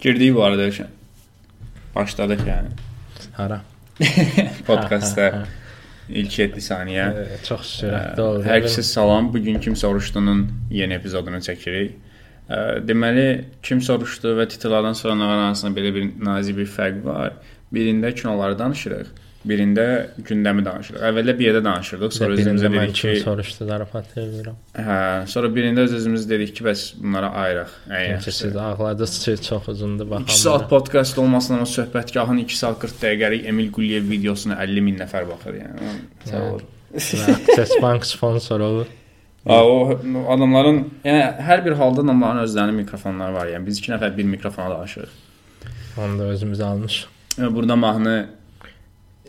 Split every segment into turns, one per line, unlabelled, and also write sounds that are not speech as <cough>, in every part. Girdik bu arada üçün. Başladıq <laughs> yəni.
Hara?
<laughs> Podkastda ilk 7 saniyə.
Ə, Çox sürətli
Ə,
oldu.
Hər kəsə salam. Bu gün kim soruşdunun yeni epizodunu çəkirik. Ə, Deməli, kim soruşdu və titrlərdən soranlar arasında belə bir nazik bir fərq var. Birində kinoları danışırıq, birində gündəmi danışırıq. Əvvəldə bir yerdə danışırdıq, sonra özümüzə
Birində mən
dedik
kim
ki,
soruşdu zarafat edirəm.
hə, sonra birində öz özümüz dedik ki, bəs bunlara ayıraq. Ən
Yəni
yaxşısı.
siz ağladınız, siz çox uzundu
2
baxan.
saat podkast olmasına amma söhbətgahın 2 saat 40 dəqiqəlik Emil Quliyev videosuna 50 min nəfər baxır yəni. Sağ
Yəni.
ol.
Access Bank sponsoru olur.
Ha, o adamların, yəni hər bir halda onların özlərinin mikrofonları var. Yəni biz 2 nəfər bir mikrofona danışırıq.
Onu da özümüz almış.
Yəni, Burada mahnı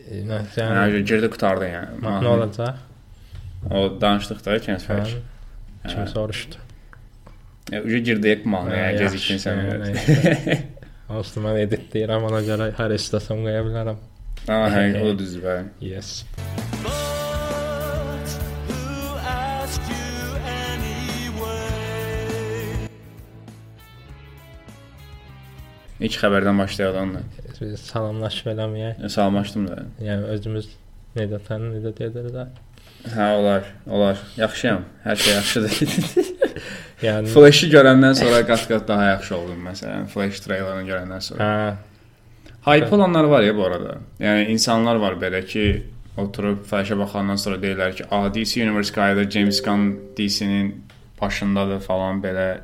E, Nə yəni
yəni girdi qurtardı yəni.
nə olacaq?
O danışdıq da kəns fərq.
Hə, Kim soruşdu?
Yəni uca girdik mahnıya,
Hə, yaxşı,
gəzikən sən.
yəni,
<laughs>
Olsun mən editləyirəm ona görə hər istəsəm qoya bilərəm.
Ha, hə, o düzdür bəli.
Yes.
But who asked you anyway?
İlk xəbərdən başlayaq onunla.
Biz salamlaşıb eləməyək.
Yəni, Salamlaşdım da.
Yəni özümüz necə tanı, necə dedirlər.
Hə, olar, olar. Yaxşıyam. Hər şey yaxşıdır.
Yəni
Flash-ı görəndən sonra qat-qat daha yaxşı oldum məsələn. Flash treylerini görəndən sonra.
hə,
Hype olanlar var ya bu arada. Yəni insanlar var belə ki, oturub Flash-a baxandan sonra deyirlər ki, "A, DC Universe qayıdır, James Gunn DC-nin başındadır" falan belə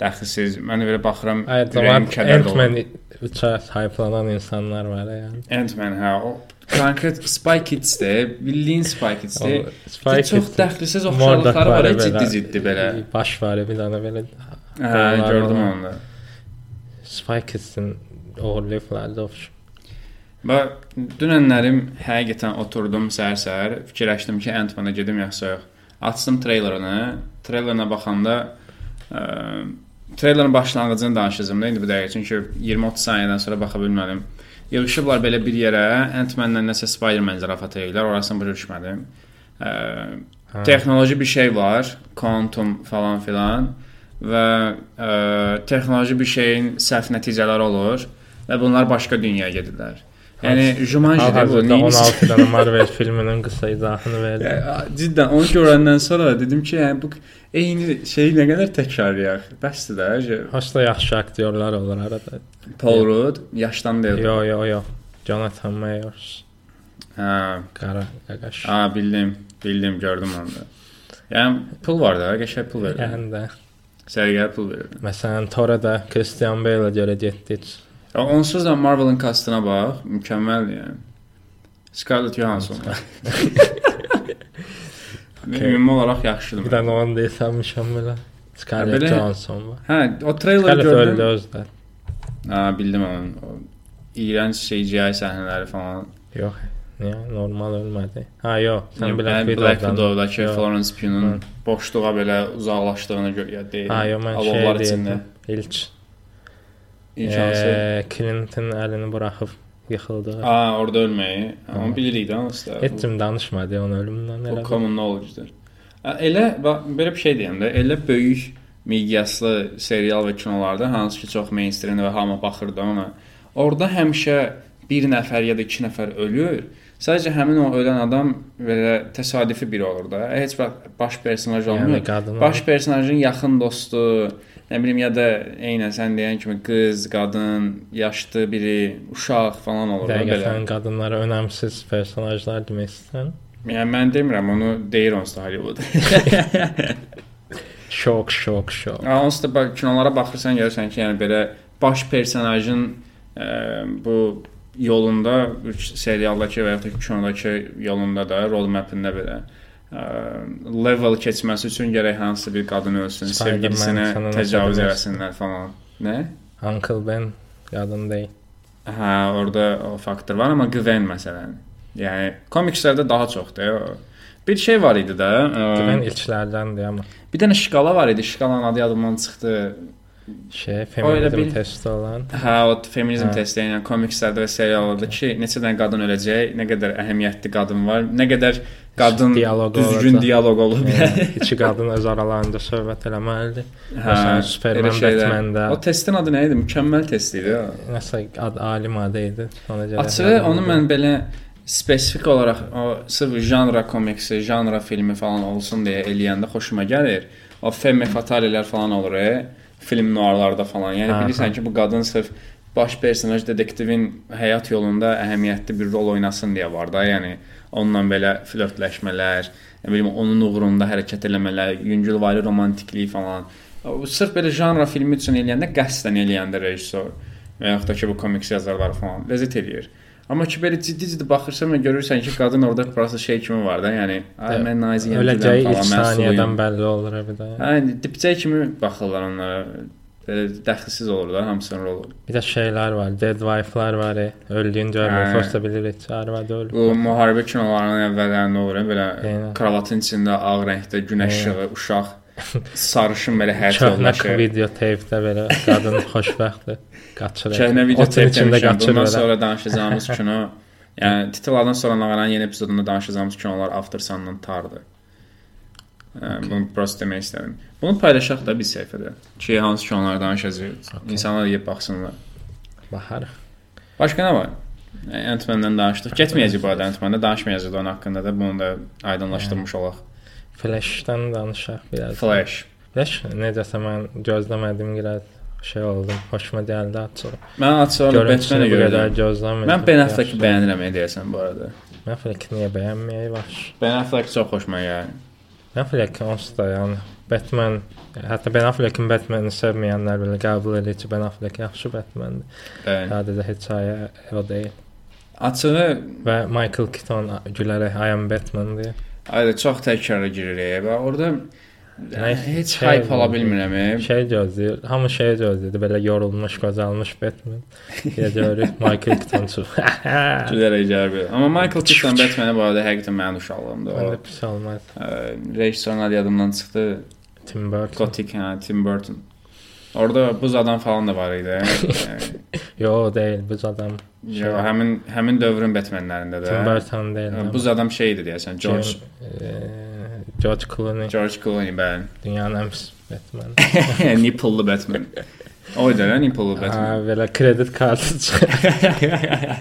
dəxilsiz. Mən belə baxıram,
ayət
ürəyim
zaman
kədər dolu.
Ant-Man üçə sayıqlanan insanlar var yəni.
Ant-Man hə, o konkret Spy Kids-də, bildiyin Spy Kids-də.
O,
Spy
Spy
Kids çox
Kids-də
dəxilsiz oxşarlıqları var,
Mordakları
hə,
belə-
ciddi-ciddi belə.
Baş var bir dənə belə
Hə,
Qolları
gördüm
var.
onu da.
Spy Kids-in oğurluqları da olmuş.
Və dünənlərim həqiqətən oturdum səhər-səhər, fikirləşdim ki, Ant-Man-a gedim yoxsa yox. Açdım treylerını, treylerinə baxanda ə, treylerin başlanğıcını danışacağam da indi bu dəqiqə, çünki 20-30 saniyədən sonra baxa bilmədim. Yığışıblar belə bir yerə, Ant-Man-la nəsə Spider-Man zarafatı eləyirlər, orasını başa düşmədim.
Hə.
E, Texnoloji bir şey var, quantum falan filan və ə, texnoloji bir şeyin səhv nəticələri olur və bunlar başqa dünyaya gedirlər. Yəni Jumanji-də bu
Hal-hazırda
neyin
16 dənə Marvel filminin qısa izahını verdi.
cidden onu görəndən sonra dedim ki, yəni bu eyni şeyi nə qədər təkrarlayaq. Bəsdir də. j-
Hoşda yaxşı aktyorlar olur arada.
Paul Rudd yaşdan deyil.
Yo yo yo. Jonathan Majors.
Hə,
Qara qaqaş.
a bildim, bildim, gördüm onu. da. Yəni pul var da, qəşəng pul verir.
Yəni də
Səliqəli pul verir.
məsələn Torada Christian Bale görə getdik.
Ya onsuz da Marvel'ın kastına bax, mükəmməl yəni. Scarlett Johansson.
<laughs>
Ümumi olaraq yaxşıdır.
Bir
məncə.
dənə onu desəmişəm belə. Scarlett
Belə-
Johansson var.
Hə, o treyleri
Scarlett öldü
gördüm.
özdə.
Hə, bildim onu. O İyrənc CGI səhnələri falan.
Yox. Niyə? Normal ölmədi. Ha yox. Sən
Yəni,
Black
Black, Black
Widow-dan.
Widow-dakı
Yox.
Florence Pugh-nun
Hı.
boşluğa belə uzaqlaşdığını görə deyil.
Ha yox mən şey
Alovlar içində.
deyirdim. İlk
İmkansı.
eee, Ee, Clinton əlini buraxıb yıxıldı.
Ha, orada ölməyi. Hə, Onu bilirik də onsuz da.
Heç kim danışmadı onun ölümündən
Bu
elə.
common knowledge-dir. Ə, Elə bax belə bir şey deyim də, elə böyük miqyaslı serial və kinolarda hansı ki çox mainstream və hamı baxırdı ona. Orda həmişə bir nəfər ya da iki nəfər ölür. Sadəcə həmin o ölən adam belə təsadüfi biri olur da. Heç vaxt baş personaj olmur.
Yəni qadın.
Baş personajın yaxın dostu, nə bilim ya da eynən sən deyən kimi qız, qadın, yaşlı biri, uşaq falan olur da belə.
Dəqiqətən qadınlara önəmsiz personajlar demək istəyirəm.
Yəni mən demirəm, onu deyir onsuz da Hollywood.
Şok, şok, şok.
Ha, onsuz da bax kinolara baxırsan görürsən ki, yəni belə baş personajın ə, bu yolunda üç serialdakı və ya da kinodakı yolunda da rol mapində belə ə, level keçməsi üçün gərək hansısa bir qadın ölsün,
Spider-Man
sevgilisinə
sənə nəsə
təcavüz
deməz.
eləsinlər falan. Nə?
Uncle Ben qadın deyil.
Hə, orada o faktor var, amma Gwen məsələn. Yəni komikslərdə daha çoxdur. o. Bir şey var idi də. e, ə,
Mən ilklərdəndir amma.
Bir dənə şkala var idi. Şkalanın adı yadımdan çıxdı.
Şey,
elə
feminizm
bil-
testi
<laughs>
olan.
Hə, o feminizm
Hə.
testi ilə komikslərdə və seriallarda ki, neçə dənə qadın öləcək, nə qədər əhəmiyyətli qadın var, nə qədər qadın
Diyaloqu
düzgün
olacaq.
dialoq olub. yəni.
Yəni, İki qadın e, öz aralarında söhbət eləməlidir.
<laughs> Hə,
Məsələn, Superman, Hə,
elə şeylər.
Batman-də-
O testin adı nə idi? Mükəmməl test idi. ha.
Nəsə ad, ali maddə idi. Ona görə.
Açığı
hə.
onu mən belə spesifik olaraq o sırf janra komiksi, janra filmi falan olsun deyə eləyəndə xoşuma gəlir. O femme fatalelər falan olur, e, film noirlarda falan. Yəni
Aha.
bilirsən ki, bu qadın sırf baş personaj detektivin həyat yolunda əhəmiyyətli bir rol oynasın deyə var da, yəni onunla belə flörtləşmələr, nə bilim onun uğrunda hərəkət eləmələr, yüngülvari romantikliyi falan. O, Sırf belə janra filmi üçün eləyəndə qəsdən eləyəndə rejissor və yaxud da ki bu komiks yazarları falan ləzzət eləyir. Amma ki belə ciddi-ciddi baxırsan və görürsən ki, qadın orada prosta şey kimi var da, yəni ay
Evet.
mən naziyəm
öləcəyi
deyiləm
ilk
falan, mən
saniyədən
suluyum.
bəlli olur bir də.
Hə, indi dipçək kimi baxırlar onlara. Belə dəxilsiz olur da hamısının rolu.
Bir də şeylər var, dead wife-lar var, e, öldüyün
Hə.
görmək xoşda bilirik, arvad ölür.
Bu müharibə kinolarının əvvəllərində olur, hə, belə
Eynən.
kravatın içində ağ rəngdə günəş işığı, uşaq sarışın belə həyat
Köhnə
yoldaşı.
video teypdə belə qadın
<laughs>
xoşbəxtdir. Qaçır.
Köhnə video
Otun içində
çəkmişəm.
qaçır.
Bundan
belə.
sonra danışacağımız kino, yəni titrlardan sonra Nağaranın yeni epizodunda danışacağımız kinolar Aftersun-dan tardı. Okay. Bunu prosta demək istədim. Bunu paylaşaq da bir səhifədə. Ki, hansı kinoları danışacağıq. Okay.
Okay.
İnsanlar yeyib baxsınlar.
Bahar.
Başqa nə var? Yəni, Ant-Man-dan danışdıq. Getməyəcək bu arada Ant-Man-da danışmayacağıq da onun haqqında da bunu da aydınlaşdırmış olaq.
Flash-dan danışaq biraz.
Flash.
Flash necəsə mən gözləmədim biraz şey oldum. Xoşuma gəldi açıq.
Mən açıram Batman-ə
Görüntüsünü bu
görə.
qədər gözləmədim.
Mən Ben Affleck-i bəyənirəm e, deyəsən bu arada.
Ben Affleck niyə bəyənməyib? Yaxşı.
Ben Affleck çox xoşuma gəlir.
Ben Affleck onsuz da yəni Batman hətta Ben Affleck-in Batman-i sevməyənlər belə qəbul edir ki, Ben Affleck yaxşı Batman-dir.
Bəli.
Sadəcə heç ayə o deyil.
Açığı
Və Michael Keaton gülərək I am Batman deyir.
Ayda çox təkrara girir və orada eh,
Yəni,
heç
şey
hype ala
oldu.
bilmirəm. e.
Şey gözləyir. Hamı şey gözləyir. Belə yorulmuş, qocalmış Batman. Deyə görür Michael Keaton <laughs> çıxır.
Gülərək gəlir. Amma Michael Keaton Batman-ə bu arada həqiqətən mənim uşaqlığımda
Mən
o.
də pis olmaz.
ə, Rejissorun adı yadımdan çıxdı.
Tim Burton.
Gothic, hə, Tim Burton. Orada buz adam falan da var
<laughs>
idi. Eh,
Yo, o deyil. Bu adam
Yo, həmin həmin dövrün Batmanlərində
Tim hə.
də.
Burton deyil.
Ə, Buz adam şey idi deyəsən, George
Eee, eh, George Clooney
George Clooney bəli. <laughs>
dünyanın ən pis Batman.
Nipple Batman. O idi, hə, Nipple
Ha, <laughs>
Batman.
belə kredit kartı çıxır.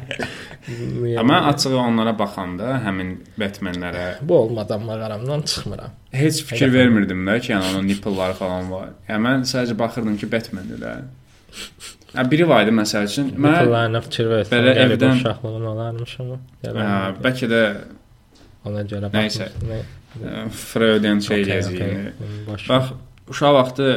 Amma açığı onlara baxanda həmin Batmanlərə
bu olmadan mağaramdan çıxmıram.
Heç fikir
Həqiqətən.
vermirdim də ki, yəni onun nippleları falan var. Yəni mən sadəcə baxırdım ki, Batman-dir də. Hə biri var idi məsəl üçün. Mən
Mən fikir versin.
belə
Belə evdən
evdən-
uşaqlığım olarmış amma.
hə,
gələn-
bəlkə də
Ona görə
Nəysə.
baxmışdım. Nə-
ə, Freud'un şey
Okey,
eləyəcək.
okey.
yəni.
Boş.
Bax, uşaq vaxtı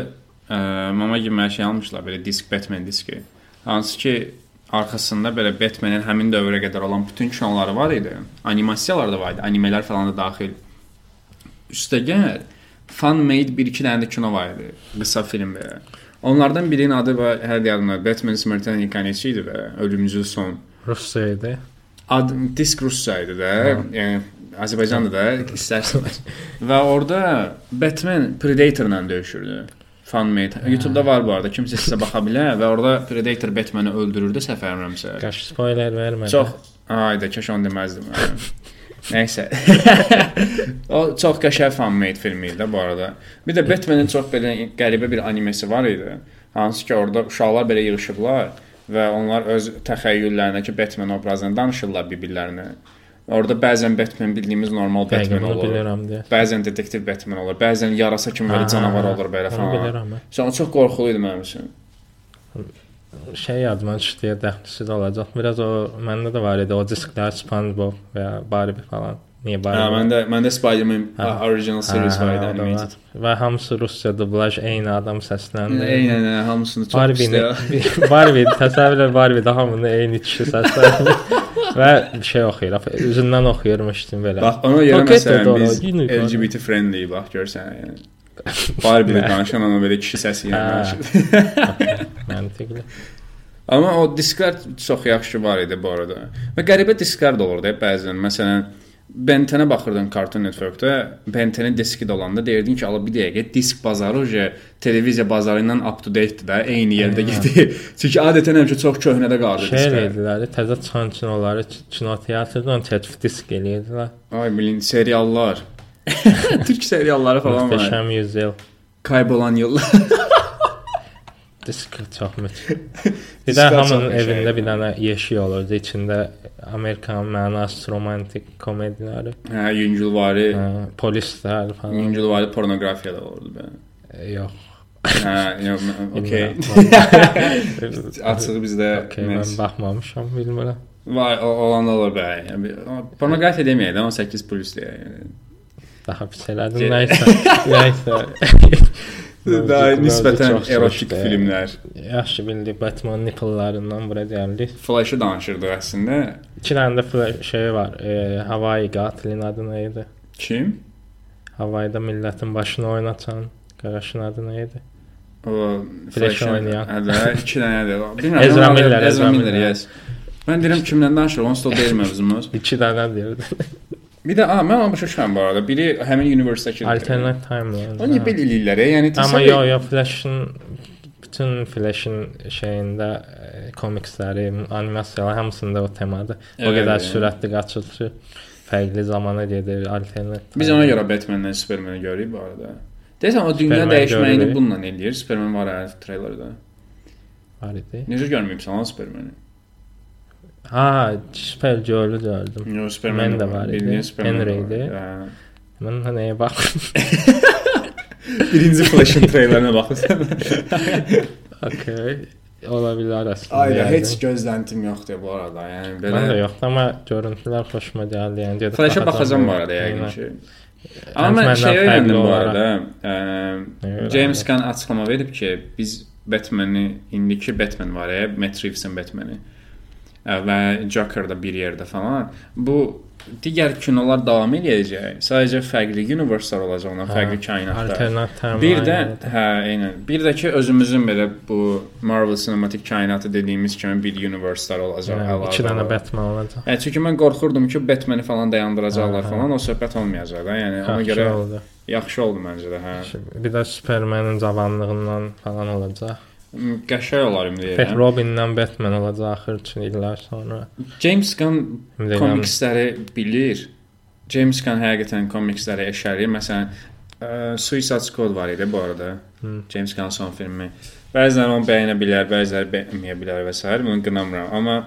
ə, mama kimi mənə şey almışlar, belə disk Batman diski. Hansı ki, arxasında belə Batman'in həmin dövrə qədər olan bütün kinoları var idi. Animasiyalar da var idi, animelər falan da daxil. Üstəgəl fan-made 1-2 dənə də kino var idi, qısa film belə. Onlardan birinin adı var, hər yadımda Batman Smrtani Kanesi idi və Ölümcül Son.
Rusya idi.
Ad disk Rusya idi də, yəni Azərbaycanda da istərsən. Və orada Batman Predator ilə döyüşürdü. Fanmade. YouTube-da var bu arada. Kimsə sizə baxa bilər və orada Predator Batmanı öldürürdü səfərləmsə.
Qaş spoiler vermədim.
Çox ayda keş onu deməzdim. Nəysə. o çox qəşəng fan-made filmi idi də bu arada. Bir də Batman-in çox belə qəribə bir animesi var idi. Hansı ki, orada uşaqlar belə yığılıblar və onlar öz təxəyyüllərindəki Batman obrazını danışırlar bir-birlərinə. Orada bəzən Batman bildiyimiz normal Batman
Dəqiqini
olur.
bilirəm deyə.
Bəzən detektiv Batman olur, bəzən yarasa kimi belə
Ha,
canavar olur belə
onu
falan.
bilirəm mən.
Sonra çox qorxulu idi mənim üçün.
Şey yadıma düşdü, dəhlsiz olacaq. Biraz o məndə də var idi o disklər SpongeBob və ya Barbie falan. Niyə Barbie?
Hə, məndə məndə Spider-Man
Hə.
uh, original series var
o
idi
da
animated.
Və hamısı Rusca dublaj, eyni adam səsləndirir.
Eynən, eynən, hamısını çox
Barbie-ni,
istəyir.
<laughs> Barbie, təsəvvür elə Barbie daha bunu eyni kişi səsləndirir. və şey oxuyur, af- üzündən oxuyurmuşdum belə.
Bax, ona görə
Paket də
məsələn biz
doğru, unicorn.
LGBT friendly bax görsən. Yəni. Barbie danışan ona belə kişi səsi ilə
Hə.
danışır.
<laughs> Məntiqli.
Amma o disklər çox yaxşı var idi bu arada. Və qəribə disklər də olurdu hə, bəzən. Məsələn, Bentenə baxırdın Cartoon Network-də, Bentenin diski də olanda deyirdin ki, ala bir dəqiqə disk bazarı oje televiziya bazarı ilə up to date-dir də, eyni yerdə gedir. Çünki adətən həmişə çox köhnədə qalır
Şey
disklər.
eləyirdilər, təzə çıxan kinoları ki- kino teatrdan çəkib disk eləyirdilər.
Ay bilin seriallar. Türk serialları falan var.
Möhtəşəm yüzyıl.
Kaybolan <laughs> yıllar.
Disk çox müthiş. Bir də
Disklər çox
hamının
qəşəng.
evində bir dənə yeşik olurdu. İçində Amerikan mənası romantik komediyaları,
hə, yüngülvari,
ə, polislər falan.
yüngülvari pornografiya da olurdu belə.
Ə, Yox.
Hə,
<laughs>
yox, mən- okey. <laughs> Açığı bizdə
Okay, mən
nəsə-
baxmamışam, bilmirəm.
Var, o- olan da olur bəy. Pornografiya deməyək də 18 plus deyə. yəni.
Daha pis elədim.
Ge-
Nəysə, nəysə.
Daha
Mövcud-
nisbətən
mövcud çox
erotik
çıxdı.
filmlər.
Yaxşı bildik Batman nipplelarından bura gəldik.
Flash-ı danışırdıq əslində.
2 dənə də fla- şey var. E, Havai qatilin adı nə idi?
Kim?
Havayda millətin başını oynatan qaraşın adı nə idi?
O
Flash
Flash-ı-
oynayan.
Hə, də,
<laughs>
iki dənədir. Bilmirəm.
Ezra
mən-
Miller,
Ezra
Ezra
Miller,
Miller.
yes. Mən deyirəm kimdən danışırıq? Onsuz da o deyil mövzumuz.
2 dənə deyirdi.
Bir də a, mən onu başa düşmürəm bu arada. Biri həmin universitetdəki.
Alternate timeline.
Onu
hə.
belə eləyirlər. e, Yəni
Amma
təsəvvür-
yo yo Flash-in bütün Flash-in şeyində e, komiksləri, animasiyalar hamısında o temadır. O
Evet,
qədər
evet.
sürətli qaçır ki, fərqli zamana gedir, alternat.
Biz ona görə Batman-lə Superman-i görürük bu arada. Deyəsən o dünya
Superman
dəyişməyini
görürük.
bununla eləyir. Superman var hər treylerdə.
var idi.
Necə görməyibsən lan Superman-i?
Ha, Supergirl-ü gördüm.
Yo, Superman
Mən də var idi.
Birinci Superman
Henry
var.
idi.
Hə.
Mən ha nəyə <laughs> baxdım?
<laughs> Birinci Flash-in treylerinə baxırsan.
okay. Ola bilər əslində.
Ayda
yəni.
heç gözləntim yoxdur bu arada. Yəni
Mən də
belə
yoxdur, amma görüntülər xoşuma gəldi. Yəni gedib
Flash-a baxacam bu arada yəqin ki. Amma mən
Ant-Man-dan
şey
fərqli
öyrəndim bu
olaraq.
arada.
Nə
Ə,
öyrəndin?
James Gunn açıqlama verib ki, biz Batman-i indiki Batman var ya, Matt Reeves-in Batman-i Ə, və Joker-da bir yerdə falan. Bu digər kinolar davam eləyəcək. Sadəcə fərqli universal olacağına, fərqli kainatlar.
Alternativ.
Bir də hə, eynən. Bir də ki özümüzün belə bu Marvel sinematik kainatı dediyimiz kimi bir universe'lar olacaq.
yəni,
əlavə
iki dənə
olaraq.
Batman olacaq.
Yəni çünki mən qorxurdum ki, Batman-i falan dayandıracaqlar
Hə, hə.
falan, o söhbət olmayacaq da. Yəni ona
Yaxşı
görə
şey oldu.
yaxşı oldu məncə də, hə.
Bir də Superman'in cavanlığından falan olacaq.
M, Qəşəng olar indi
Pek
deyirəm.
Robin'dən Batman olacaq axır üçün illər sonra.
James Gunn
Ümid edirəm.
komiksləri bilir. James Gunn həqiqətən komiksləri eşərir. Məsələn, ə, Suicide Squad var idi bu arada.
Hı.
James Gunn son filmi. Bəziləri onu bəyənə bilər, bəziləri bəyənməyə bilər və s. Bunu qınamıram. Amma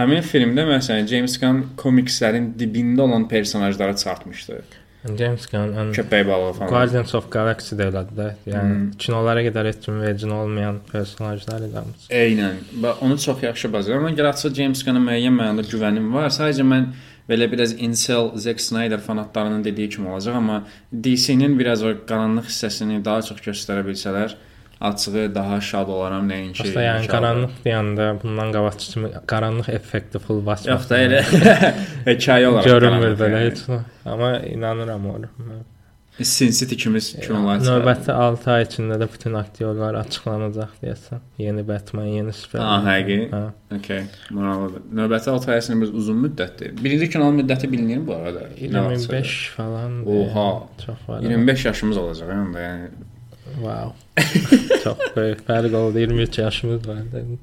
həmin filmdə məsələn James Gunn komikslərin dibində olan personajlara çatmışdı.
James Gunn'ın
Köpək balığı falan.
Guardians of Galaxy də elədi də. Yəni
Hmm.
hmm. kinolara qədər heç kim vecin olmayan personajlar eləmiş.
Eynən. Və onu çox yaxşı bacarır. Ona görə açıq James Gunn-a müəyyən mənada güvənim var. Sadəcə mən belə biraz incel Zack Snyder fanatlarının dediyi kimi olacaq, amma DC-nin biraz o qaranlıq hissəsini daha çox göstərə bilsələr, açığı daha şad olaram nəinki.
Aslında yəni
inşallah.
qaranlıq deyəndə bundan qabaq kimi qaranlıq effekti full basmaq.
Yox da elə <laughs> hekayə olaraq
görünmür
qaranlıq,
belə
yəni.
heç. nə. Amma inanıram ona.
Sin City kimi kinolar çıxardı.
Növbəti 6 ay içində də bütün aktyorlar açıqlanacaq deyəsən. Yeni Batman, yeni Superman.
Ha, həqiqi?
Hə.
Okay, maraqlıdır. Növbəti 6 ay əslində biraz uzun müddətdir. Birinci kinonun müddəti bilinir bu arada. İnanılmaz.
25 falan.
Oha.
e, Çox var.
25 yaşımız olacaq yəni. yəni
<laughs> Wow. Çox böyük fərq oldu 23 yaşımız var. dedim.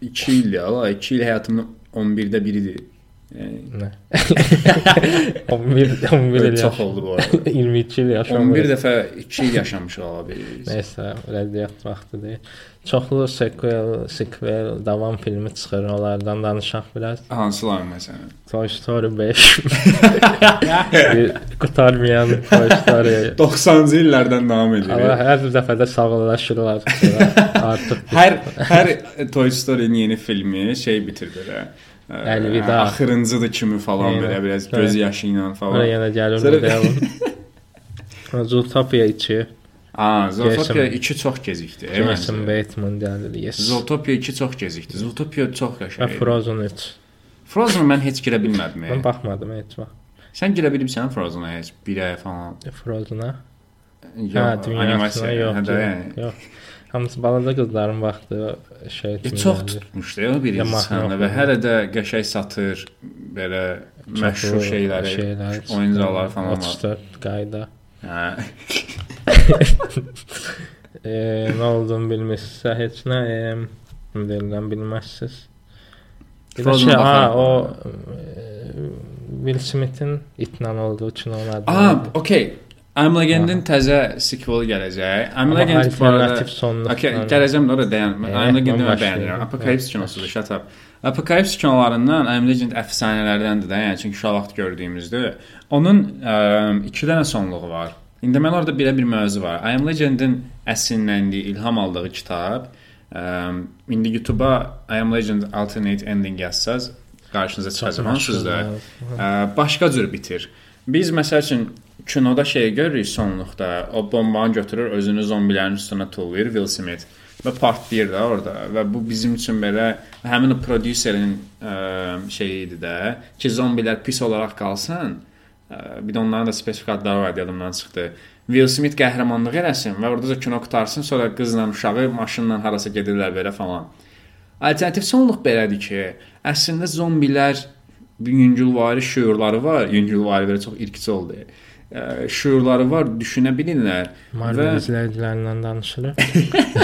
2 il ya, la 2 il həyatımın 11-də biridir. Yəni
<laughs> Nə? 11 11 il
Böyle çox
yaş.
oldu bu arada.
22 il yaş.
11 dəfə 2 il yaşamışıq
<laughs>
ala biliriz.
Nəysə, rəddiyyat vaxtı deyil. Çoxlu sequel, sequel, davam filmi çıxır, onlardan danışaq biraz.
Hansılar məsələn?
Toy Story <laughs> 5. Bir Qutarmayan Toy Story.
90-cı illərdən davam
Amma
edir.
hər dəfə də sağollaşırlar. Artıq
Hər hər Toy Story-nin yeni filmi şey bitir belə. ə,
Əlvida.
ah, Axırıncıdır kimi falan
Eynən.
belə biraz göz yaşı ilə
Ona
falan.
yenə gəlir
Sonra-
deyəm. Zootopia 2,
A, Zootopia
Jason-
2 çox gecikdi. e,
Jason
məncə.
Bateman gəlir. Yes.
Zootopia 2 çox gecikdi. Zootopia çox
Və
qəşəng. idi.
Frozen 3.
Frozen mən heç girə bilmədim. e.
Mən baxmadım heç vaxt.
Sən girə bilibsən Frozen-a heç bir ay falan.
Frozen-a. Hə,
Yox,
dünyasına
animasiya.
yox.
Hə, də yəni.
yox, Yox. Hamısı balaca qızların vaxtı şey
E,
kimi
çox
gəlir.
tutmuşdu ya bir
Ya, mahnı
insana və
oxuyurdu.
hələ də qəşəng satır belə məşhur şeyləri, oyuncuları falan var.
34 qayda.
Hə.
E, nə olduğunu bilmirsinizsə heç nə e, deyilən bilməzsiniz. Bir də
Frozen
şey,
baxaq.
ha, o e, Will Smith'in itlə olduğu üçün onun adı.
A, okey. I'm Legend'in təzə sequel gələcək. I'm
Amma
Legend bu arada
alternativ sonluqla.
Okay, gələcəm də orada dayan.
Eh,
I'm Legend'i mən
bambaşqa.
bəyənirəm. Apokalips kinosudur, shut up. Apokalips kinolarından I'm Legend əfsanələrdəndir də, yəni çünki uşaq vaxt gördüyümüzdür. Onun ə, iki dənə sonluğu var. İndi mən orada belə bir mövzu var. I'm Legend-in əsinləndiyi, ilham aldığı kitab. Ə, indi YouTube-a I'm Legend alternate ending yazsaz qarşınıza çıxacaq. Hansız da ə, başqa cür bitir. Biz məsəl üçün kinoda şey görürük sonluqda. O bombanı götürür, özünü zombilərin üstünə tullayır Will Smith və partlayır da orada və bu bizim üçün belə həmin o prodüserin ə, şeyi idi də ki, zombilər pis olaraq qalsın. Ə, bir də onların da spesifik adları var, yadımdan çıxdı. Will Smith qəhrəmanlıq eləsin və orada da kino qutarsın, sonra qızla uşağı maşınla harasa gedirlər belə falan. Alternativ sonluq belədir ki, əslində zombilər yüngülvari şüurları var. Yüngülvari belə çox irkici oldu. Ə, Şüurları var, düşünə bilirlər
Marvel
və-
izləyicilərindən
<laughs>
danışırıq.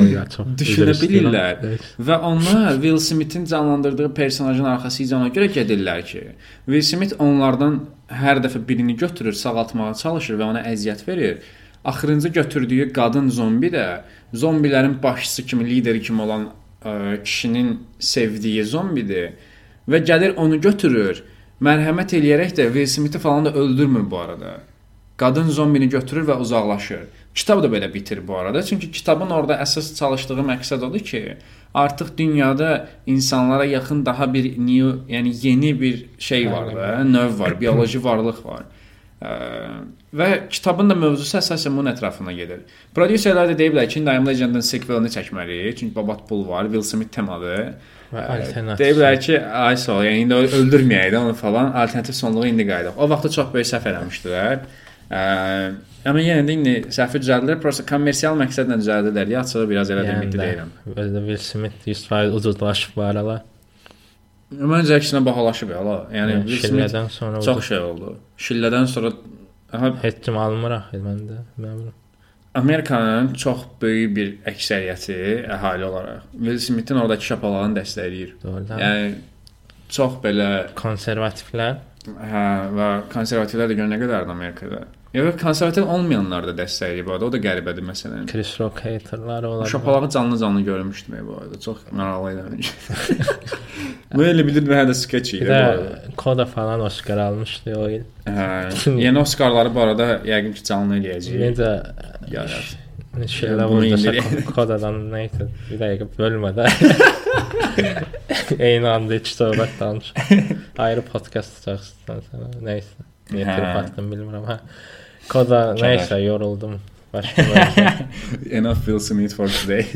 o ya çox. üzr
Düşünə
istəyirəm.
bilirlər.
Evet.
və onlar Will Smith-in canlandırdığı personajın arxasıca ona görə gedirlər ki, Will Smith onlardan hər dəfə birini götürür, sağaltmağa çalışır və ona əziyyət verir. Axırıncı götürdüyü qadın zombi də zombilərin başçısı kimi, lideri kimi olan ə, kişinin sevdiyi zombidir və gəlir onu götürür. Mərhəmət eləyərək də Will Smith-i falan da öldürmür bu arada. Qadın zombini götürür və uzaqlaşır. Kitab da belə bitir bu arada. Çünki kitabın orada əsas çalışdığı məqsəd odur ki, artıq dünyada insanlara yaxın daha bir new, yəni yeni bir şey var da, növ var, bioloji varlıq var. Ə, və kitabın da mövzusu əsasən bunun ətrafına gedir. Prodüserlər də deyiblər ki, Dime Legend-in sequelini çəkməliyik, çünki babat pul var, Will Smith temadır.
Və
Ə,
alternativ.
Deyiblər ki, ay sağ ol, yəni indi o- öldürməyəydi onu falan, alternativ sonluğu indi qayıdaq. O vaxtda çox böyük səhv eləmişdilər. Ə, amma yenə də indi səhvi düzəldilər, prosta kommersial məqsədlə düzəldilər. Yaxşı biraz elə də ümidli
Yəni də,
deyirəm.
Özü də Will Smith 100% ucuzlaşıb var ala.
Məncə əksinə bahalaşıb ya. la. Yəni
Yəni,
Will Smith
Şillədən e, sonra
çox
çox
şey oldu. Şillədən sonra aha,
heç kim almır axı məndə. Mən bilmirəm.
Amerikanın çox böyük bir əksəriyyəti əhali olaraq Will Smith-in oradakı şapalağını dəstəkləyir.
Doğrudan. Yəni,
Yəni çox belə
konservativlər
Hə, və konservativlər də görə nə qədər Amerikada. Yox, konservativ olmayanlar da dəstəkləyir bu arada. O da qəribədir məsələn.
Chris Rock haterları olar.
Şapalağı canlı-canlı görmüşdüm bu arada. Çox maraqlı idi. Bu elə bilirdim hə də skeç idi
Bir
bu arada.
də Koda falan Oscar almışdı o il.
Hə, yeni Oskarları bu arada yəqin ki canlı eləyəcək.
Necə
Ya, ya.
şeylə
Bunu
vurdusa
<laughs> indir-
Kodadan nə idi? Bir dəqiqə bölmədə. Eyni anda iki söhbət danış. Ayrı podkast tutacaqsan sən. Nəysə. Niyə
Hə.
tərpətdim bilmirəm. Hə. Koda
Kədər.
nəysə yoruldum. Başqa bir şey
Enough Will Smith for today.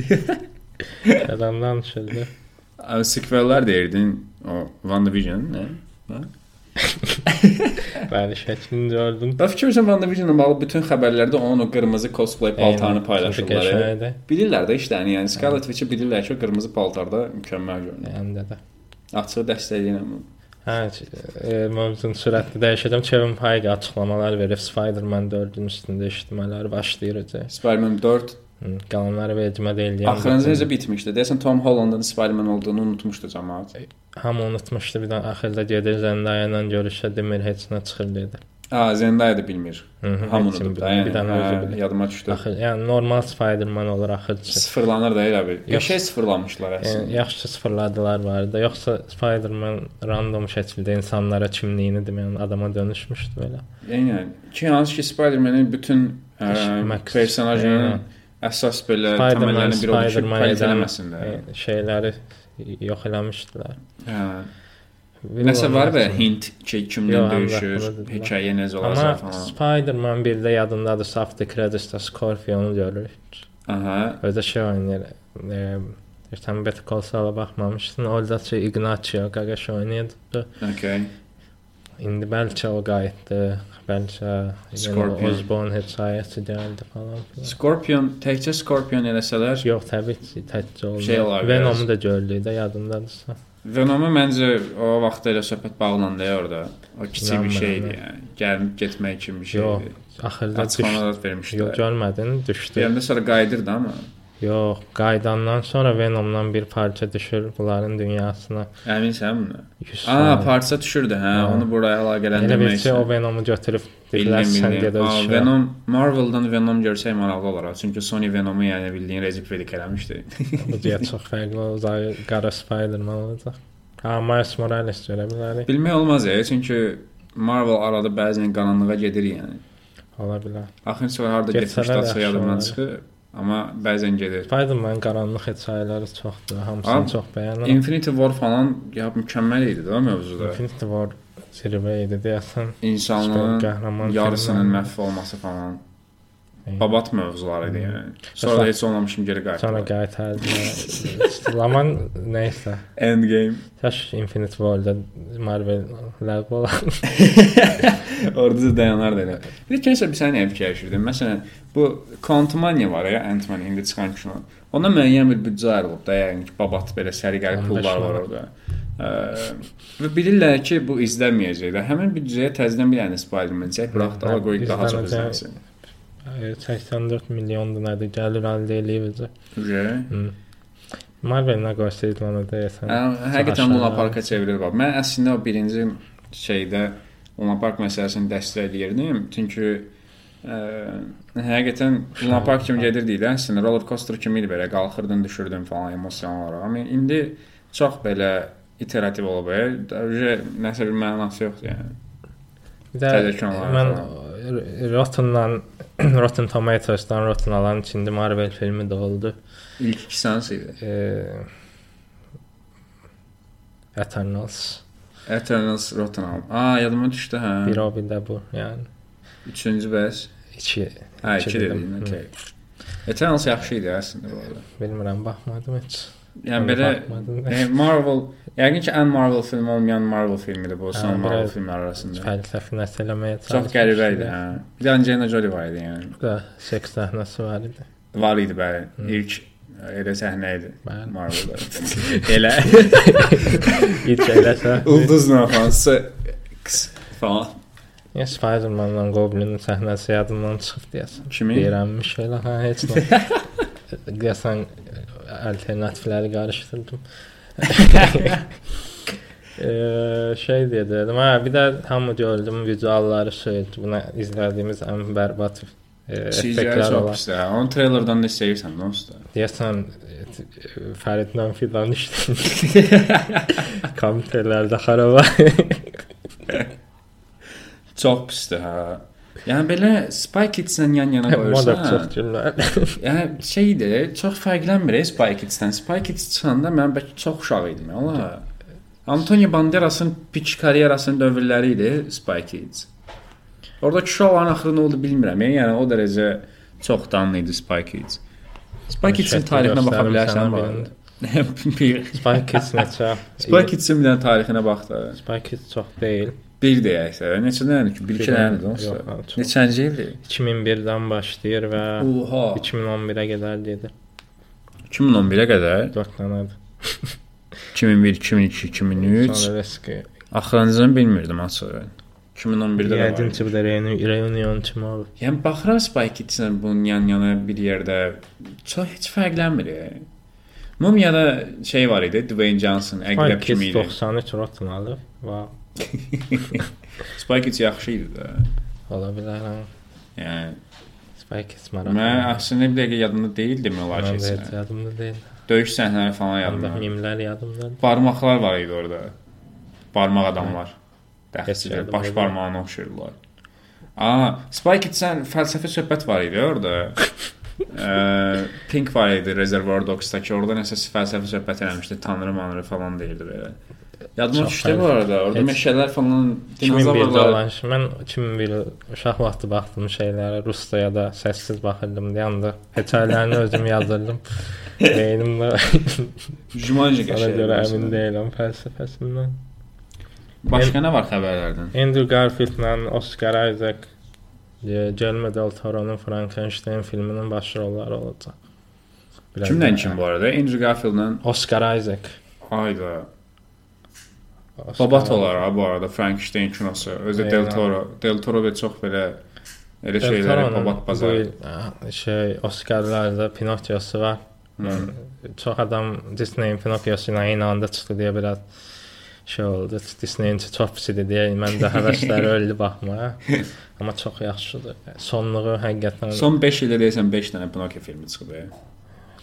adam danışıldı.
Ə, Sequellər deyirdin. O WandaVision, nə? Hə?
Bəli, şəklini gördüm.
Bax fikirləşirəm WandaVision-la bağlı bütün xəbərlərdə onun o qırmızı cosplay paltarını paylaşırlar. e.
Eyni, çünki qəşəngdir.
Bilirlər də işlərini, yəni Scarlet Witch-i bilirlər ki, o qırmızı paltarda mükəmməl görünür.
Yəni də. də.
Açıq dəstəkləyirəm. bunu.
Hə, c- e, mövzunu sürətli dəyişəcəm. Kevin Feige açıqlamalar verib Spider-Man 4-ün üstündə eşitmələr başlayıracaq.
Spider-Man 4
Hı, Qalanları vecimə deyil. yəni.
axırıncı necə bitmişdi? Deyəsən Tom Hollandın Spider-Man olduğunu unutmuşdu cəmaət.
Hamı unutmuşdu bir də axırda gedir Zendaya ilə görüşə demir heç nə çıxır dedi.
A, Hə, Zendaya da bilmir.
Hı-hı,
Hamı unudub da, yəni.
bir dənə özü
hə,
bilir.
Yadıma düşdü.
Axır, yəni normal Spider-Man olur axırcı.
Sıfırlanır da elə bir.
Yox.
Qəşəng sıfırlamışlar
Yəni,
əslində.
yaxşı sıfırladılar var da. Yoxsa Spider-Man random şəkildə insanlara kimliyini deməyən adama dönüşmüşdü belə.
Yəni ki, hansı ki Spider-Man-in bütün ə,
Məqsəd-
personajının əsas belə
Spider-Man,
təməllərinin biri odur ki,
Spider-Man
kvalitet
edən-
eləməsin də.
E, Şeyləri yox eləmişdilər.
Hə. Nəsə var və hint ki, kimdən
Yox, həm də
döyüşür,
bunu dedilər.
hekayə necə
Amma
olacaq falan.
Spider-Man 1-də yadındadır, Safety Credits-də Scorpion-u görürük.
Aha.
Özdə şey oynayır. E, Ertəm Better Call Saul-a baxmamışdın. Orada şey Ignacio qaqaş oynayırdı.
Okay.
İndi bəlkə o qayıtdı. Bəlkə
Scorpion.
Scorpion. Osborn hekayəsi gəldi falan. filan.
Scorpion, təkcə Scorpion eləsələr,
Yox, təbii ki, təkcə oldu.
Şey olar,
Venom-u da gördük də yadındadırsa.
Venom'a məncə o vaxt elə söhbət bağlandı ya orada. O kiçik bir
İnanmıram,
şey idi
hə.
yəni. Gəlib getmək kimi bir şey
Yox,
idi.
axırda düşdü.
Açıqlamalar vermişdilər.
Yox,
Yox,
görmədin, düşdü.
Deyəndə sonra qayıdırdı amma
Yox, qaydandan sonra Venom'dan bir parça düşür bunların dünyasına.
əminsən bundan?
Yüz
A,
sonra.
parça düşürdü hə,
Hə.
onu buraya
Elə
əlaqələndirmək
bir şey o
üçün.
Venom'u götürüb dedilər
Bildim,
sən
bildim.
gedə
A,
düşür.
Venom, Marvel-dan Venom görsək maraqlı olar. Çünki Sony Venom-u yəni bildiyin Recep Vedik <laughs> eləmişdi.
Bu deyə çox fərqli olacaq. Qara Spider-Man olacaq. Ha, Miles Morales görə bilərik.
Bilmək olmaz ya, çünki Marvel arada bəzən qaranlığa gedir yəni.
Ola bilər.
Axın sonra
Getsələr
harda getmişdi,
yaxşı
açıq yadımdan
olar.
çıxır, amma bəzən gedir.
Spider-Man qaranlıq hekayələri çoxdur.
Am-
Hamısını çox bəyənirəm.
Infinity War falan ya mükəmməl idi də o mövzuda.
Infinity War zirvə idi deyəsən.
İnsanlığın
Süper qəhrəman
yarısının
filmlər.
məhv olması falan.
Ey.
Babat mövzuları idi yəni. Sonra da
Sonra-
heç olmamışım geri
Sonra
qayıtdım.
qaytardı. Laman nəysə.
Endgame.
Kaş Infinity War'da Marvel ləğv olan.
<laughs> Orada da dayanardı elə. Bir də kimsə bir sənə fikirləşirdim. Məsələn, bu Quantumania var ya, Ant-Man indi çıxan kino. Ona müəyyən bir büdcə ayrılıb da, yəni ki, babat belə səliqəli
15
pullar var
manat.
orada. Ə, Və bilirlər ki, bu izlənməyəcək də. Həmin büdcəyə təzədən bir dənə Spider-Man çək, bırax da
Hə,
ala qoy daha çox
izlənəcək.
izlənsin.
Ə, 84 milyondur nədir gəlir əldə eləyəcək.
Ujə.
Hmm. Marvel nə qoysa idlana deyəsən.
Hə, Həqiqətən Luna Parka çevrilir bax. Mən əslində o birinci şeydə Luna Park məsələsini dəstəkləyirdim, çünki ə, həqiqətən Luna Park kimi gedirdi də, əslində roller coaster kimi idi belə qalxırdın, düşürdün falan emosional olaraq. Amma indi çox belə iterativ olub, E, dərəcə nəsə bir mənası yoxdur yəni.
Bir də
Təzəkən var.
mən Rotten-dan <clears throat> Rotten Tomatoes-dan Rotten alan içində Marvel filmi də oldu.
İlk iki sansı idi.
E, Eternals.
Eternals Rotten Album. A, yadıma düşdü hə.
Bir o bir də bu, yəni
Üçüncü bəs.
iki
Hə,
İki
iki dedin,
dedim.
okey. Eternals yaxşı idi əslində bu arada.
bilmirəm baxmadım heç.
Yəni
Ona
belə
baxmadım.
yəni Marvel, yəqin ki, ən Marvel filmi olmayan Marvel filmidir bu, son
Hə,
Marvel
biraz-
filmləri arasında.
Fəlsəfi nəsə eləməyə
Çox qəribə idi, hə. Bir də Angelina Jolie var idi, yəni.
Da seks səhnəsi var idi.
Var idi bəli. İlk e, elə səhnə idi.
Bəli.
Marvelda. elə
<laughs> İlk eləsə.
<laughs> Oh. ulduzla falan s- kıs- falan
Ya Spider-Man-la Goblin səhnəsi yadımdan çıxıb deyəsən.
kimi
Deyirəmmiş elə hə heç nə. Deyəsən alternativləri qarışdırdım. Eee şey dedim. Hə bir də hamı gördüm vizualları söyüd. Buna izlədiyimiz ən bərbad e,
CGI
effektlər
çox
olan.
pisdir. hə. Onu treylerdan da sevirsən, dostu.
Deyəsən e, Fəridlə filan işləyir. Komenterlərdə xaraba.
Çox pisdir, hə. Yəni belə Spy Kids-lə
<laughs>
yan-yana
Moda
qoyursan.
çox gülməli.
Yəni şeydir, çox fərqlənmir eh, Spy Kids-dən. Spy Kids çıxanda mən bəlkə çox uşaq idim. Ola. Antonio Banderas'ın pik karyerasının dövrləri idi Spy Kids. Orada kişi olan axırı nə oldu bilmirəm. eh, Yəni o dərəcə çox danlı idi Spy Kids. Spy Kids-in
Şəkli
tarixinə baxa
göstərim
bilərsən
sənə
bu
birində.
arada. Bir-
<laughs> Spy Kids neçə?
Spy Kids-in bir dənə tarixinə bax da.
Spy Kids çox deyil.
Bir deyəksə, neçə dənədir ki? 1-2
Bir dənə-
dənədir onsuz.
yox, ha, çox.
Neçənci ildir?
2001-dən başlayır və
Oha.
2011-ə qədər dedi.
2011-ə qədər
4 dənədir.
2001, 2002, 2003
Sonra Reski.
Axırıncını bilmirdim açığı. 2011-də də var.
Yəqin ki, bu da reuni- reunion kimi olur.
Yəni baxıram Spike Kids-lə bunun yan-yana bir yerdə çox heç fərqlənmir. ya. Mumiyada şey var idi, Dwayne Johnson
Spy
əqrəb kimi
Kids
idi.
93 rotten alıb. Wow.
<laughs> Spike Kids yaxşı idi də.
Ola bilər. hə.
Yəni
Spy Kids maraqlı.
mən əslində bir dəqiqə yadımda deyil demək olar
Mən də heç
ki.
yadımda deyil.
Döyüş səhnələri falan
Yadımda
yadımda.
mimlər yadımda.
Barmaqlar var idi orada. Barmaq
Hə.
adamlar.
Heç
Dəxsizlər,
yadımda
baş
deyil.
barmağına oxşayırlar. A, Spike Kids-dən fəlsəfi söhbət var idi
<laughs>
orada. Ə, Pink var idi Reservoir Dogs-dakı. Orada nəsə fəlsəfi söhbət eləmişdi. Tanrı manrı falan deyirdi belə. Yadıma
Çox
düşdü bu
fəlsəfi.
arada. Orada
Heç-
meşələr falan
2001-də
dinozavrlar.
olan şey. Mən 2001 uşaq vaxtı baxdım şeylərə, Rusiyada da səssiz baxırdım deyəndə. Hekayələrini özüm
<laughs>
yazırdım. Beynimdə
Jumanji
ona görə
qəşəng.
əmin deyiləm fəlsəfəsindən.
Başqa nə var xəbərlərdən?
Andrew Garfield'la Oscar Isaac e, Guillermo del Toro'nun Frankenstein filminin baş rolları olacaq. Biraz
Kimdən
daha-
kim bu arada? Andrew Garfield-dan.
Oscar Isaac.
Ayda. Babat olar ha bu arada Frankenstein kinosu. Özü Del
Eyvah.
Toro. Del Toro və çox belə elə şeyləri babat bazarı.
e, şey Oscarlarda Pinokyosu var.
Hmm.
Çox adam Disney-in Pinokyosu ilə eyni anda çıxdı deyə biraz şey oldu. Disney-in çox pis idi deyə mən də həvəsləri öldü baxmaya. Amma çox yaxşıdır. Sonluğu həqiqətən
Son 5 ildə deyəsən 5 dənə Pinokio filmi çıxdı.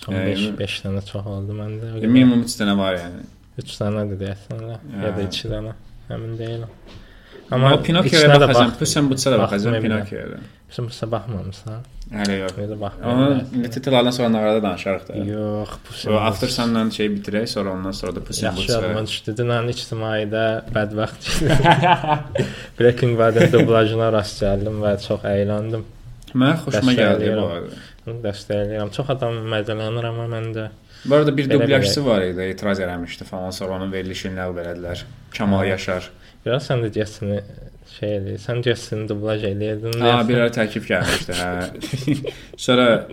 son
yəni-
5 5 dənə çox oldu məndə.
E, minimum 3 dənə var yəni.
3 dənə də deyəsən elə,
Hə.
ya da 2 dənə. Həmin deyiləm.
Amma Pinokioya baxacam.
bax-
Xüsusən bu çıxana baxacam
baxdım, bilmirəm.
Pinokioya.
Sən bu sabah baxmamısan?
Hələ yox.
Belə bax.
Onu titrlərdən sonra narada danışarıq da.
Yox, bu
O after sun'dan şey bitirək, sonra ondan sonra da Puss in
Yaxşı adamın
Boots.
düşdü. Dünən ictimaidə bədbəxt <laughs> Breaking Bad-in dublajına rast gəldim və çox əyləndim.
Mən xoşuma
Bəs
gəldi bu
eləyirəm.
arada.
Bunu dəstəkləyirəm. Çox adam mədələnir amma məndə
Bu arada bir
Belə
dublyajçısı var idi, etiraz eləmişdi falan, sonra onun verilişini ləğv elədilər. Kamal
Hə.
Yaşar.
biraz sən də deyəsən şey eləyir. Sən deyəsən dublaj eləyirdin.
Ha,
deyəsən.
bir ara təklif gəlmişdi, hə. <laughs> sonra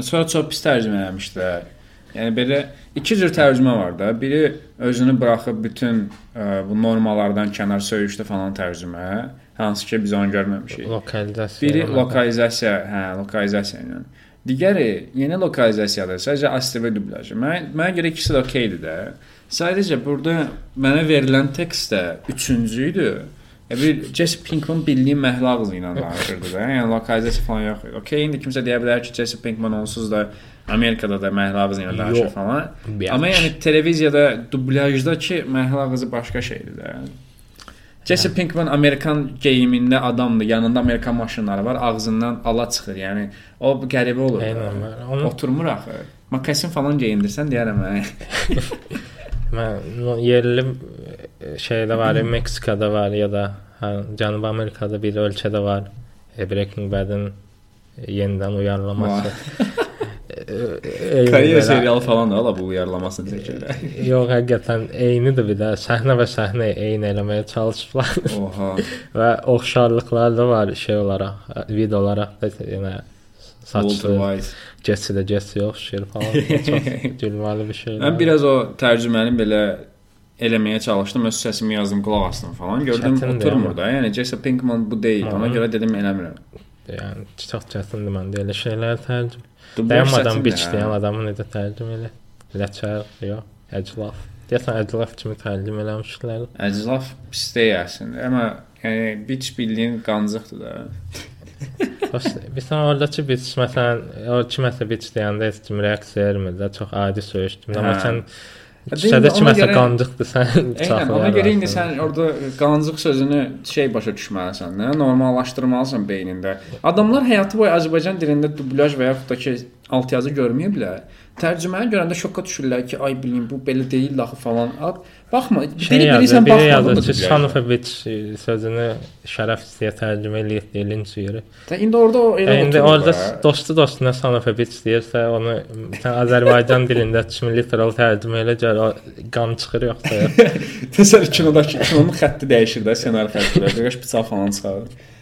sonra çox pis tərcümə eləmişdilər. Yəni belə iki cür tərcümə var da. Biri özünü buraxıb bütün ə, bu normalardan kənar söyüşdə falan tərcümə, hansı ki biz onu görməmişik.
lokalizasiya.
Biri
eləmək.
lokalizasiya, hə, lokalizasiya ilə. Digəri yeni lokalizasiyadır. Sadəcə ASTV dublyajı. Mən mənə görə ikisi də okeydir də. Sadəcə burada mənə verilən tekst də 3-cü idi. Ya bir Jesse Pinkman bildiyi məhlə ağzı ilə danışırdı da. Yəni lokalizasiya falan yox idi. Okey, indi kimsə deyə bilər ki, Jesse Pinkman onsuz da Amerikada da məhlə ağzı ilə danışır
Yox.
falan.
Bir-
Amma yəni televiziyada dublyajdakı məhlə ağzı başqa şeydir də. Jesse Pinkman Amerikan geyimində adamdır. Yanında Amerikan maşınları var. Ağzından ala çıxır. Yəni o qəribə olur.
Eynən var. Onu
Oturmur axı. Makasin falan geyindirsən deyərəm
<laughs>
mən.
mən no- yerli e, şeydə var,
Mm.
ya, Meksikada var ya da hə, Cənubi Amerikada bir ölkədə var. E, Breaking Bad-in yenidən
<laughs>
uyarlaması. E, e,
Koreya
belə-
serialı falan da ala bu uyarlamasını çəkirlər.
Yox, həqiqətən eynidir bir də. Səhnə və səhnə eyni eləməyə çalışıblar
<laughs>
<laughs>
Oha.
və oxşarlıqlar da var eh, şey olaraq, ə, video olaraq da yenə
Walter
saçlı,
White.
keçsi də keçsi oxşayır
<laughs>
falan. Çox gülməli bir şeydir.
Mən biraz o tərcüməni belə eləməyə çalışdım. Öz səsimi yazdım, qulaq asdım falan. Gördüm
Çətindir
oturmur
amma.
da. Yəni Jesse Pinkman bu deyil. Ona
Aha.
görə dedim eləmirəm.
yəni çox çətindir məndə elə şeylər tərcümə.
Dublyaj
Dayanmadan
çətindir,
biç
hə.
deyən adamı necə tərcümə elə? Ləçər, yox, əclaf. Deyəsən əclaf kimi tərcümə eləmişlər.
Əclaf pis deyil əslində. Amma yəni biç bildiyin qancıqdır da.
Bəs bir sən oradakı bir məsələn, o kiməsə bir deyəndə heç kim reaksiya vermir də, çox adi söyüşdüm. Amma
Hə.
sən
Deyim,
Şədə
ona
kiməsə
görə-
qancıqdı sən. <laughs>
Eynən, ona görə indi sən orada qancıq sözünü şey başa düşməlisən, nə? normallaşdırmalısan beynində. Adamlar həyatı boyu Azərbaycan dilində dublyaj və yaxud da ki alt yazı görməyiblər. Tərcüməni görəndə şoka düşürlər ki, ay bilin bu belə deyil axı falan. Ab- Baxma,
Şey
biri
yazır,
bilirsən
biri
baxma.
yazır
bu
ki,
dublyajda.
Sanofovic sözünü şərəf istəyə tərcümə eləyir, dilin suyuru.
Da İndi orada o elə
İndi
oturur
orada
<laughs> da.
dostu dostuna Sanofovic deyirsə, onu sən Azərbaycan dilində kimi literal tərcümə elə gör, o qan çıxır yoxsa yox.
Təsəl kinodakı kinonun xətti dəyişir də, ssenari xətti dəyişir, qaş bıçaq falan çıxarır.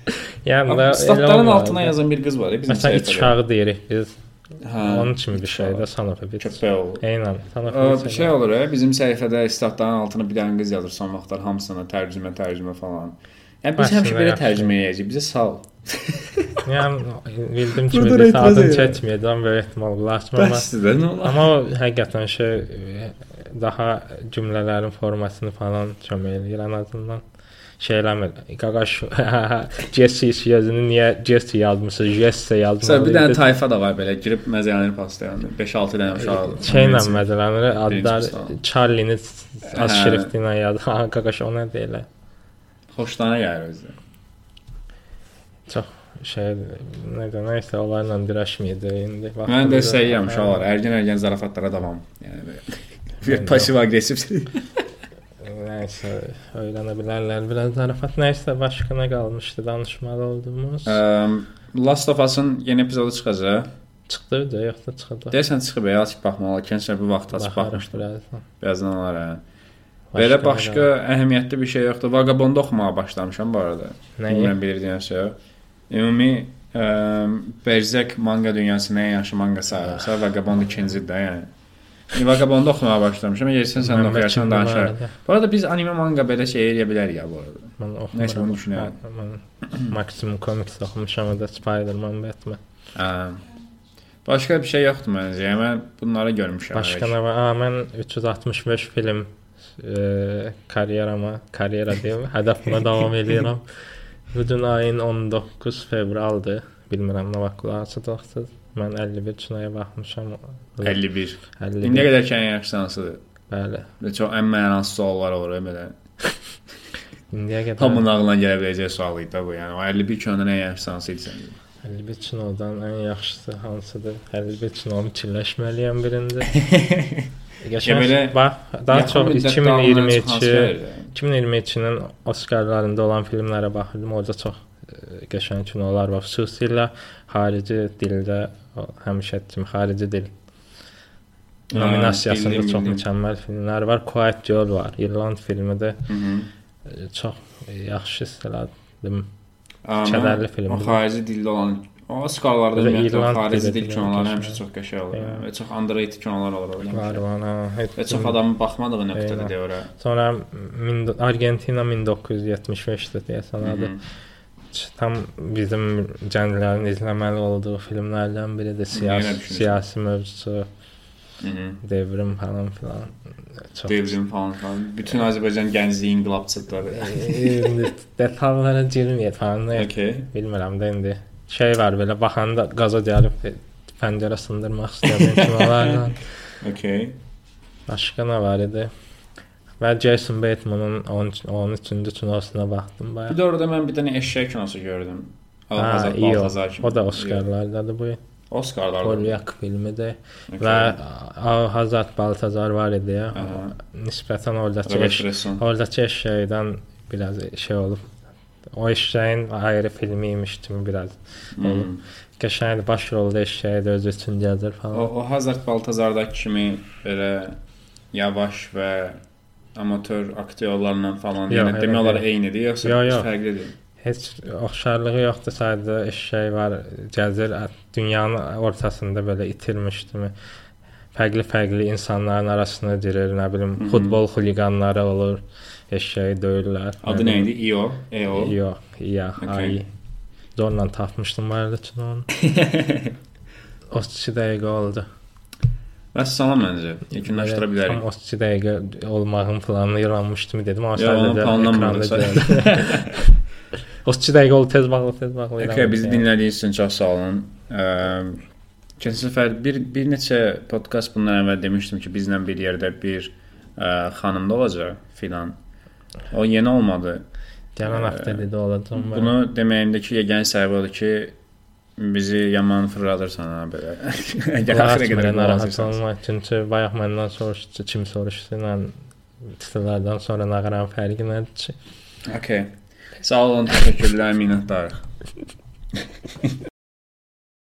Yəni
Amma
elə
Statların
olmalı.
altına yazan bir qız var, ya, bizim
Məsələn,
səhifədə.
iç uşağı deyirik biz.
Hə,
Onun kimi bir
iç
şey
uşağı.
də Sanofovic.
Köpək olur.
Eynən, Sanofovic.
Ə, şey olur, ə, bizim səhifədə statların altına bir dənə qız yazır son vaxtlar hamısına tərcümə, tərcümə falan. Yəni biz
Aslında
həmişə belə
yaxşı.
tərcümə edəcəyik. Bizə sağ ol.
Yəni bildim ki,
Burada
bir
etiraz
saatın
edirəm.
çəkməyəcəm böyük ehtimalla ulaşmam.
Bəsdir də, nə olar?
Amma o həqiqətən şey e, daha cümlələrin formasını falan kömək eləyir ən azından. Şey eləmir. Qaqaş <laughs> Jesse sözünü niyə Jesse yazmısınız? Jesse
Məsələn,
yazmısınız.
bir dənə tayfa da var belə girib məzəyanı paslayan 5-6
Şey,
dənə uşaq.
Şeylə mədələnir, adlar
Hindistan.
Charlie-ni Hani az
Hə.
şriftli ilə yazır. <laughs> Ha, Qaqaş ona deyilə.
Xoşdana gəlir özü.
Şey, nə də nəysə onlarla dirəşməyəcək indi.
Mən də
Vaxtımızı-
səyyəm
Hə.
uşaqlar. Ərgin-ərgin zarafatlara davam. Yəni belə. Bir pasiv-aqressiv.
Nəysə, öyrənə bilərlər. Biraz zarafat nəysə başqına qalmışdı danışmalı olduğumuz.
Ə, Um, Last of Us-ın yeni epizodu çıxacaq.
Çıxdı da, yoxsa çıxdı.
Deyəsən çıxıb elə açıb baxmalı. Kənsə bu vaxt açıb baxmışdı.
birazdan.
Birazdan olar. Hə. Belə başqa əhəmiyyətli bir şey yoxdur. Vagabonda oxumağa başlamışam bu arada.
Nəyi?
Bilmirəm bilirdiyin şey. Ümumi hə, ə,
Ah.
Berzek manga dünyasının ən yaxşı mangası sayılırsa Vagabond ikincidir də yəni. Vagabonda oxumağa başlamışam. Yersən sən də
Mənim
oxuyarsan
fikrim bu
danışarıq.
arada.
Bu arada biz anime manga belə şey eləyə bilərik ya bu arada.
Mən oxumuram.
Nəysə, onu düşünərəm.
Mən- mən Maximum Comics oxumuşam, o da Spider-Man, Batman.
Hə. Başqa bir şey yoxdur məncə. Yəni mən bunları görmüşəm.
Başqa nə var? Aa, mən 365 film e, karyerama, karyera
<laughs>
deyim, hədəfimə davam edirəm. Bu gün ayın 19 fevraldır. Bilmirəm nə vaxt qulaq asacaqsınız. Mən 51 çınaya baxmışam.
51.
51.
İndiyə qədər ki, ən yaxşı hansıdır?
Bəli.
Və çox ən mənasız suallar olur belə.
İndiyə qədər
Hamının ağlına gələ biləcək sual idi də bu. Yəni o 51 köndən ən yaxşı hansı idi səncə?
51 çınoldan ən yaxşısı hansıdır? 51 çınolun çilləşməliyəm birində.
<laughs>
Geçen
belə
bax, daha
Yaxın
çox
müddətdə alınan
2022
hansı filmlər?
2022-nin Oskarlarında olan filmlərə baxırdım. Orada çox e, qəşəng kinolar var. Xüsusilə xarici dildə o, həmişə etdim xarici dil
Ha,
nominasiyasında
bildim,
çox
bildim.
mükəmməl filmlər var. Quiet Girl var. İrland filmidir.
Hı -hı.
E, Çox e, yaxşı hiss elədim.
Amma
Kədərli film.
O xarici dildə olan o Oscarlarda
Və
ümumiyyətlə o
İrland
xarici
dili
dil
də
kinoları
yəni
həmişə çox qəşəng olur.
Yəni.
Və çox underrated kinolar olur orada.
Var,
həmişə.
var. ha,
Və
heç-
çox adamın baxmadığı
Eyvah.
nöqtədə deyə ora.
Sonra min- Argentina 1975-də deyəsən
Hı
adı.
-hı.
Tam bizim gənclərin izləməli olduğu filmlərdən biridir.
Yenə
Siyasi,
düşünürsən.
siyasi mövzusu,
Hı -hı.
devrim falan filan. Çox
Devrim falan filan. Bütün Azərbaycan gəncliyi inqilabçıları.
İndi detallara girməyət falan. da yox.
Okay.
Bilmirəm də indi. Şey var belə baxanda qaza gəlib e, pəncərə sındırmaq istəyən kimalarla.
Okay.
Başqa nə var idi? Və Jason Bateman'ın 13-cü tunosuna baxdım bayaq.
Bir də orada mən bir dənə eşşək kinosu gördüm.
Ha,
Azad
iyi o.
Baltazar kimi.
O da Oscar'lardadır bu.
Oscarlarda.
Polyak filmidir.
Okay.
Və A- Hazat Baltazar var idi ya.
Aha.
Nisbətən oradakı
Robert
eş,
Bresson.
oradakı eşşəkdən biraz şey olub. O eşşəyin ayrı filmi imiş kimi biraz.
Hmm.
Qəşəngdir baş rolda eşşəyi də özü üçün gəzir
O,
falan.
o Hazard Baltazardakı kimi belə yavaş və amatör aktyorlarla falan
Yox,
yəni
elə
demək olar
deyil.
eynidir yoxsa
Yox, yox.
fərqlidir?
Heç oxşarlığı yoxdur, sadə eşşək var, gəzir ə, dünyanın ortasında belə itirmişdimi. Fərqli-fərqli insanların arasına girir, nə bilim,
Mhm.
futbol xuliqanları olur, eşşəyi döyürlər.
Adı E nə idi? EO, EO. <laughs>
Yox, ya,
Okay.
ay. Zorla tapmışdım var için onu. 32 dəqiqə oldu.
Bəs salam məncə. Yekunlaşdıra
Tam
bilərik.
32 dəqiqə olmağın planını yaranmışdım dedim. Amma
Yox, onun
sadəcə
planlanmadı.
ekranda gördüm.
<laughs>
32 dəqiqə oldu, tez bağla, tez bağla.
Okay,
İranlı
bizi
şey.
dinlədiyiniz üçün çox sağ olun. Əm, Keçən səfər bir bir neçə podkast bundan əvvəl demişdim ki, bizlə bir yerdə bir ə, xanım da olacaq filan. O yenə olmadı.
Gələn həftə dedi olacam. mən.
Bunu deməyimdəki yeganə səbəb odur ki, bizi yaman fırladırsan ha belə. Əgər
Narahat
axıra qədər
mənə narahat
narazısan.
olma. Çünki bayaq məndən soruşdu, kim soruşdu ilə titrlərdən sonra nağaran fərqi nədir ki?
Okay. Sağ olun, təşəkkürlər, minnətdarıq.